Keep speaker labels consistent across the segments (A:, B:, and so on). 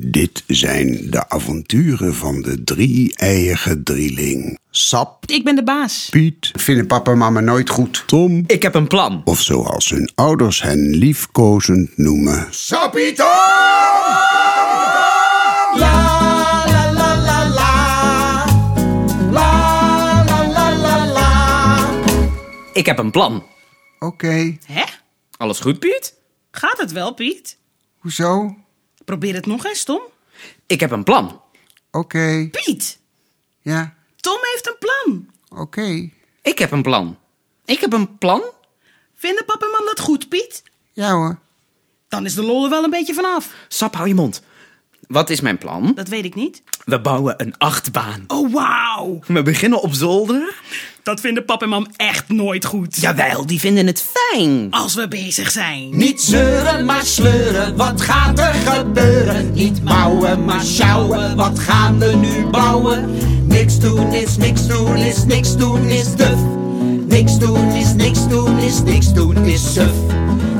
A: Dit zijn de avonturen van de drie-eige drieling. Sap,
B: Ik ben de baas.
A: Piet, vinden papa en mama nooit goed. Tom,
C: Ik heb een plan.
A: of zoals hun ouders hen liefkozend noemen. Sapito!
C: Ik heb een plan.
A: Oké,
B: Hè?
C: Alles goed, Piet?
B: Gaat het wel, Piet?
A: hoezo? Oké,
B: Probeer het nog eens, Tom.
C: Ik heb een plan.
B: Piet,
A: ja,
B: Tom heeft een plan.
A: oké.
C: Ik heb een plan. Ik heb een plan?
B: Vinden papa en mam dat goed, Piet?
A: Ja hoor.
B: Dan is de lol er wel een beetje vanaf.
C: Sap, hou je mond. Wat is mijn plan?
B: Dat weet ik niet.
C: We bouwen een achtbaan.
B: Oh, wauw.
C: We beginnen op zolder.
B: Dat vinden pap en mam echt nooit goed.
C: Jawel, die vinden het fijn.
B: Als we bezig zijn.
D: Niet zeuren, maar sleuren, wat gaat er gebeuren? Niet bouwen, maar sjouwen, wat gaan we nu bouwen? Niks doen is niks doen is niks doen is duf. Niks doen is niks doen is niks doen is suf.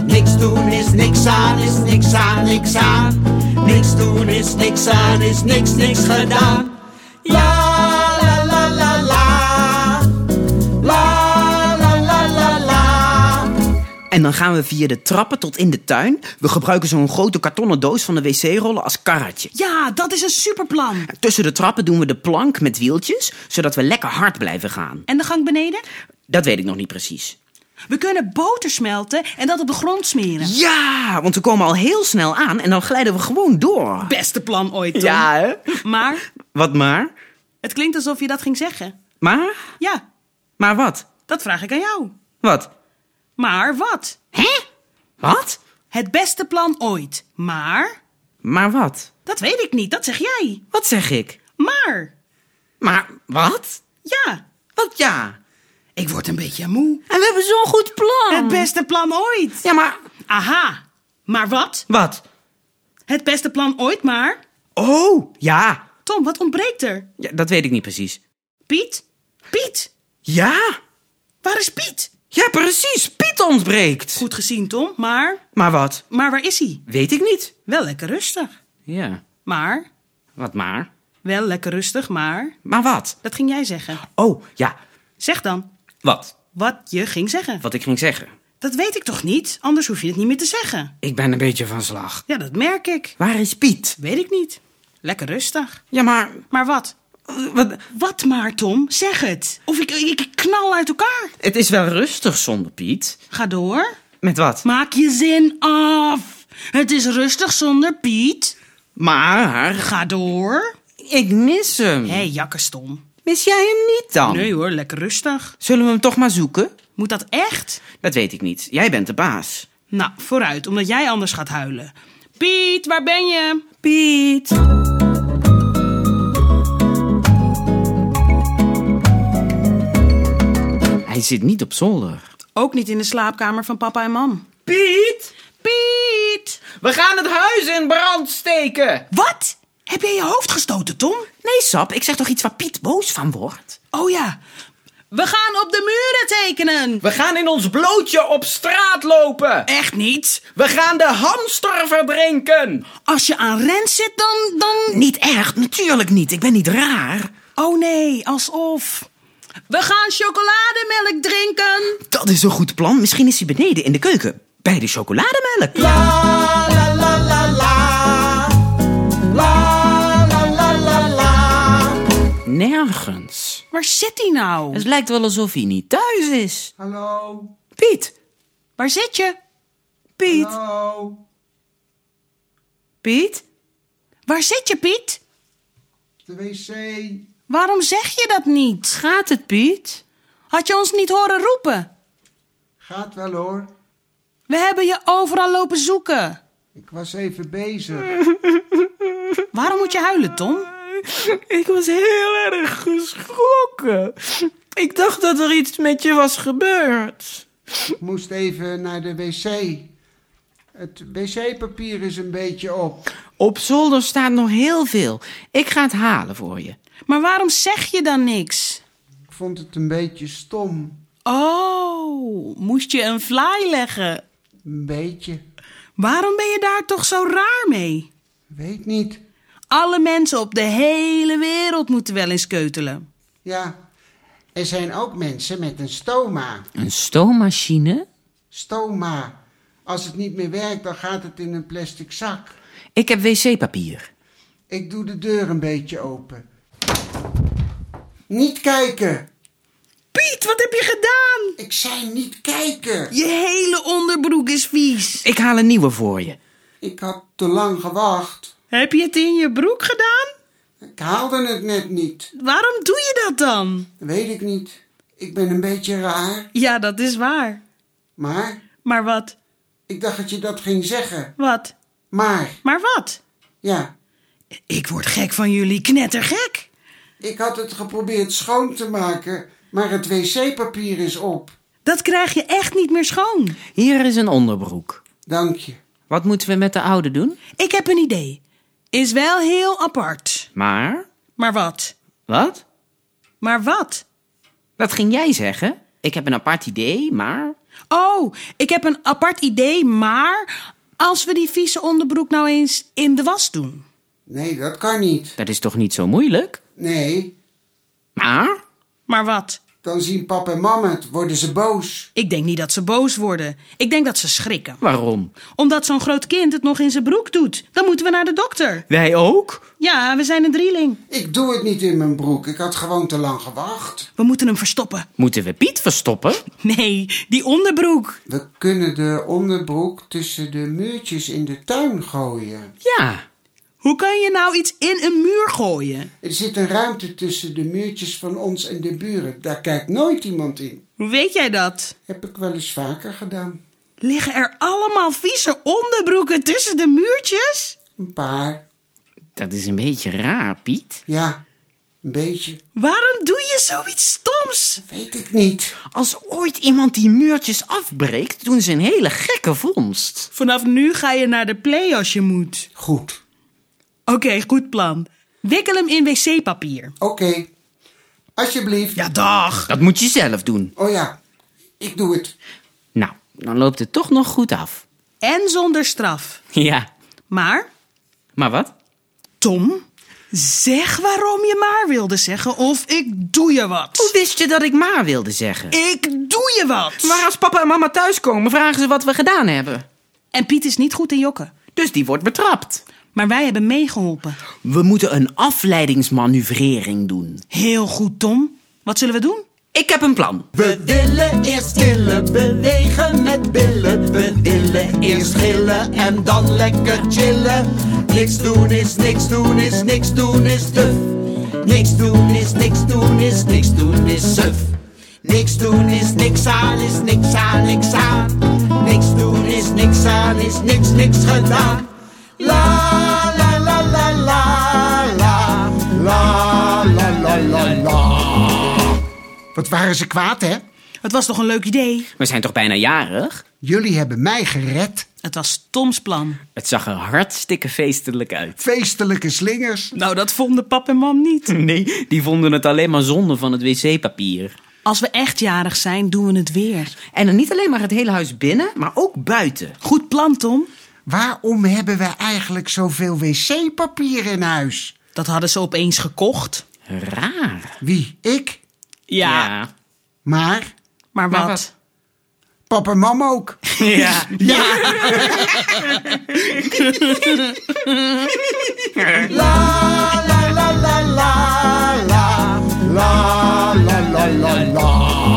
D: Niks doen is niks aan is niks aan niks aan. Niks doen is niks aan is niks niks gedaan. La la la la la. La la la la la.
C: En dan gaan we via de trappen tot in de tuin. We gebruiken zo'n grote kartonnen doos van de wc-rollen als karretje.
B: Ja, dat is een superplan.
C: Tussen de trappen doen we de plank met wieltjes, zodat we lekker hard blijven gaan.
B: En de gang beneden?
C: Dat weet ik nog niet precies.
B: We kunnen boter smelten en dat op de grond smeren.
C: Ja, want we komen al heel snel aan en dan glijden we gewoon door.
B: Beste plan ooit, Tom.
C: Ja, hè?
B: Maar
C: Wat maar?
B: het klinkt alsof je dat ging zeggen.
C: Maar?
B: Ja,
C: Maar wat?
B: dat vraag ik aan jou.
C: Wat?
B: Maar wat?
C: Hè? Wat?
B: Het beste plan ooit. Maar?
C: Maar wat?
B: Dat weet ik niet, dat zeg jij.
C: Wat zeg ik?
B: Maar?
C: Maar wat?
B: Ja,
C: Wat ja?
B: ik word een beetje moe.
C: En we hebben zo'n goed plan.
B: Het beste plan ooit.
C: Ja, maar
B: Aha, maar wat?
C: wat?
B: Het beste plan ooit, maar?
C: Oh, ja.
B: Tom, wat ontbreekt er?
C: ja. Dat weet ik niet precies.
B: Piet? Piet?
C: Ja?
B: Waar is Piet?
C: Ja, precies. Piet ontbreekt.
B: Goed gezien, Tom, maar...
C: Maar wat?
B: Maar waar is hij?
C: Weet ik niet.
B: Wel lekker rustig.
C: Ja,
B: Maar?
C: wat maar?
B: Wel lekker rustig, maar...
C: Maar wat?
B: Dat ging jij zeggen.
C: Oh, ja.
B: Zeg dan
C: Wat?
B: wat je ging zeggen.
C: Wat ik ging zeggen.
B: Dat weet ik toch niet? Anders hoef je het niet meer te zeggen.
C: Ik ben een beetje van slag.
B: Ja, dat merk ik.
C: Waar is Piet?
B: Weet ik niet. Lekker rustig.
C: Ja, maar...
B: Maar wat?
C: eh, Wat?
B: Wat maar, Tom? Zeg het. Of ik, ik knal uit elkaar.
C: Het is wel rustig zonder Piet.
B: Ga door.
C: Met wat?
B: Maak je zin af. Het is rustig zonder Piet.
C: Maar...
B: Ga door.
C: Ik mis hem.
B: Hé, hey, jakkes, Tom.
C: Mis jij hem niet dan?
B: Nee hoor, lekker rustig.
C: Zullen we hem toch maar zoeken?
B: Moet dat echt?
C: Dat weet ik niet. Jij bent de baas.
B: Nou, vooruit, omdat jij anders gaat huilen. Piet, waar ben je?
C: Piet. Hij zit niet op zolder.
B: Ook niet in de slaapkamer van papa en mam.
C: Piet!
B: Piet!
C: We gaan het huis in brand steken!
B: Wat? Heb jij je hoofd gestoten, Tom?
C: Nee, Sap, ik zeg toch iets waar Piet boos van wordt?
B: Oh ja. We gaan op de muren tekenen.
C: We gaan in ons blootje op straat lopen!
B: Echt niet.
C: We gaan de hamster verdrinken!
B: Als je aan Rens zit, dan, dan...
C: Niet erg, natuurlijk niet. Ik ben niet raar.
B: Oh nee, alsof. We gaan chocolademelk drinken.
C: Dat is een goed plan. Misschien is hij beneden in de keuken. Bij de chocolademelk.
D: La la la la la. La la la la la.
C: Nergens.
B: Waar zit hij nou?
C: Het lijkt wel alsof hij niet thuis is.
D: Hallo,
C: Piet.
B: Waar zit je?
C: Piet.
D: hallo.
C: Piet.
B: Waar zit je, Piet?
D: De wc.
B: Waarom zeg je dat niet?
C: Gaat het, Piet?
B: Had je ons niet horen roepen?
D: Gaat wel hoor.
B: We hebben je overal lopen zoeken.
D: Ik was even bezig.
B: Waarom moet je huilen, Tom?
C: Ik was heel erg geschrokken. Ik dacht dat er iets met je was gebeurd.
D: Ik moest even naar de wc. Het wc-papier is een beetje op.
C: Op zolder staat nog heel veel. Ik ga het halen voor je.
B: Maar waarom zeg je dan niks?
D: Ik vond het een beetje stom.
B: Oh, moest je een fly leggen?
D: Een beetje.
B: Waarom ben je daar toch zo raar mee?
D: Weet niet.
B: Alle mensen op de hele wereld moeten wel eens keutelen.
D: Ja, er zijn ook mensen met een stoma.
C: Een stoommachine?
D: Stoma. Als het niet meer werkt, dan gaat het in een plastic zak.
C: Ik heb wc-papier.
D: Ik doe de deur een beetje open. Niet kijken!
B: Piet, wat heb je gedaan?
D: Ik zei niet kijken!
B: Je hele onderbroek is vies.
C: Ik haal een nieuwe voor je.
D: Ik had te lang gewacht.
B: Heb je het in je broek gedaan?
D: Ik haalde het net niet.
B: Waarom doe je dat dan?
D: Weet ik niet. Ik ben een beetje raar.
B: Ja, dat is waar.
D: Maar
B: Maar wat?
D: ik dacht dat je dat ging zeggen.
B: Wat?
D: Maar,
B: Maar wat?
D: ja,
B: Ik word gek van jullie, knettergek.
D: ik had het geprobeerd schoon te maken, maar het wc-papier is op.
B: Dat krijg je echt niet meer schoon.
C: Hier is een onderbroek.
D: Dank je.
C: Wat moeten we met de oude doen?
B: Ik heb een idee. Is wel heel apart.
C: Maar?
B: Maar wat?
C: Wat?
B: Maar wat?
C: Wat ging jij zeggen? Ik heb een apart idee, maar...
B: Oh, ik heb een apart idee, maar als we die vieze onderbroek nou eens in de was doen.
D: Nee, dat kan niet.
C: Dat is toch niet zo moeilijk?
D: Nee,
C: Maar?
B: Maar wat?
D: dan zien pap en mam het, worden ze boos.
B: Ik denk niet dat ze boos worden. Ik denk dat ze schrikken.
C: Waarom?
B: Omdat zo'n groot kind het nog in zijn broek doet. Dan moeten we naar de dokter.
C: Wij ook?
B: Ja, we zijn een drieling.
D: Ik doe het niet in mijn broek, ik had gewoon te lang gewacht.
B: We moeten hem verstoppen.
C: Moeten we Piet verstoppen?
B: Nee, die onderbroek.
D: We kunnen de onderbroek tussen de muurtjes in de tuin gooien.
C: Ja.
B: Hoe kan je nou iets in een muur gooien?
D: Er zit een ruimte tussen de muurtjes van ons en de buren. Daar kijkt nooit iemand in.
B: Hoe weet jij dat?
D: Heb ik wel eens vaker gedaan.
B: Liggen er allemaal vieze onderbroeken tussen de muurtjes?
D: Een paar.
C: Dat is een beetje raar, Piet.
D: Ja, een beetje.
B: Waarom doe je zoiets stoms?
D: Weet ik niet.
C: Als ooit iemand die muurtjes afbreekt, doen ze een hele gekke vondst.
B: Vanaf nu ga je naar de play als je moet.
D: Goed.
B: Oké, goed plan. Wikkel hem in wc-papier.
D: Oké. Alsjeblieft.
B: Ja, dag.
C: Dat moet je zelf doen.
D: Oh ja, ik doe het.
C: Nou, dan loopt het toch nog goed af.
B: En zonder straf.
C: Ja.
B: Maar,
C: Maar wat?
B: Tom, zeg waarom je maar wilde zeggen of ik doe je
C: Hoe
B: wat.
C: wist je dat ik maar wilde zeggen?
B: Ik doe je wat.
C: Maar als papa en mama thuiskomen, vragen ze wat we gedaan hebben.
B: En Piet is niet goed in jokken.
C: Dus die wordt betrapt.
B: Maar wij hebben meegeholpen.
C: We moeten een afleidingsmanoeuvrering doen.
B: Heel goed, Tom. Wat zullen we doen?
C: Ik heb een plan.
D: We willen eerst chillen, bewegen met billen. We willen eerst gillen en dan lekker chillen. Niks doen is niks doen is niks doen is duf. Niks doen is niks doen is niks doen is suf. Niks doen is niks aan is niks aan niks aan. Niks doen is niks aan is niks niks gedaan. La la la la la la la la la la la. Wat waren ze kwaad, hè?
B: Het was toch een leuk idee?
C: We zijn toch bijna jarig?
D: Jullie hebben mij gered.
B: Het was Toms plan.
C: Het zag er hartstikke feestelijk uit.
D: Feestelijke slingers.
B: Nou, dat vonden pap en mam niet.
C: Nee, die vonden het alleen maar zonde van het wc-papier.
B: Als we echt jarig zijn, doen we het weer.
C: En dan niet alleen maar het hele huis binnen, maar ook buiten.
B: Goed plan, Tom.
D: Waarom hebben we eigenlijk zoveel wc-papier in huis?
B: Dat hadden ze opeens gekocht.
C: Raar.
D: Wie? Ik?
B: Ja,
D: Maar
B: maar wat?
C: Maar wat?
D: pap en mam ook.
C: Ja.
D: La la la la la la la la la la la.